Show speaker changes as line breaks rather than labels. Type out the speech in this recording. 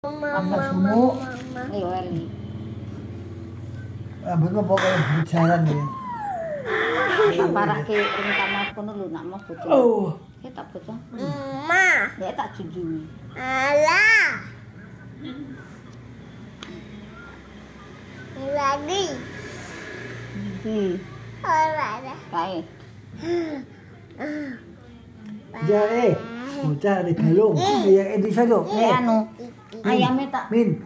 Mama, sumo,
Ay, wari.
abot mo po kayo bitsaran eh.
Para ke ring kamar kono lu nak mau bocah.
Oh.
Ya tak bocah.
Mama,
Ya tak jujur.
ala. Lagi,
Hmm.
ala.
Kae.
Diyan eh, bocah regalo. Yang edisa do.
Eh anu. Ayame tak
Min,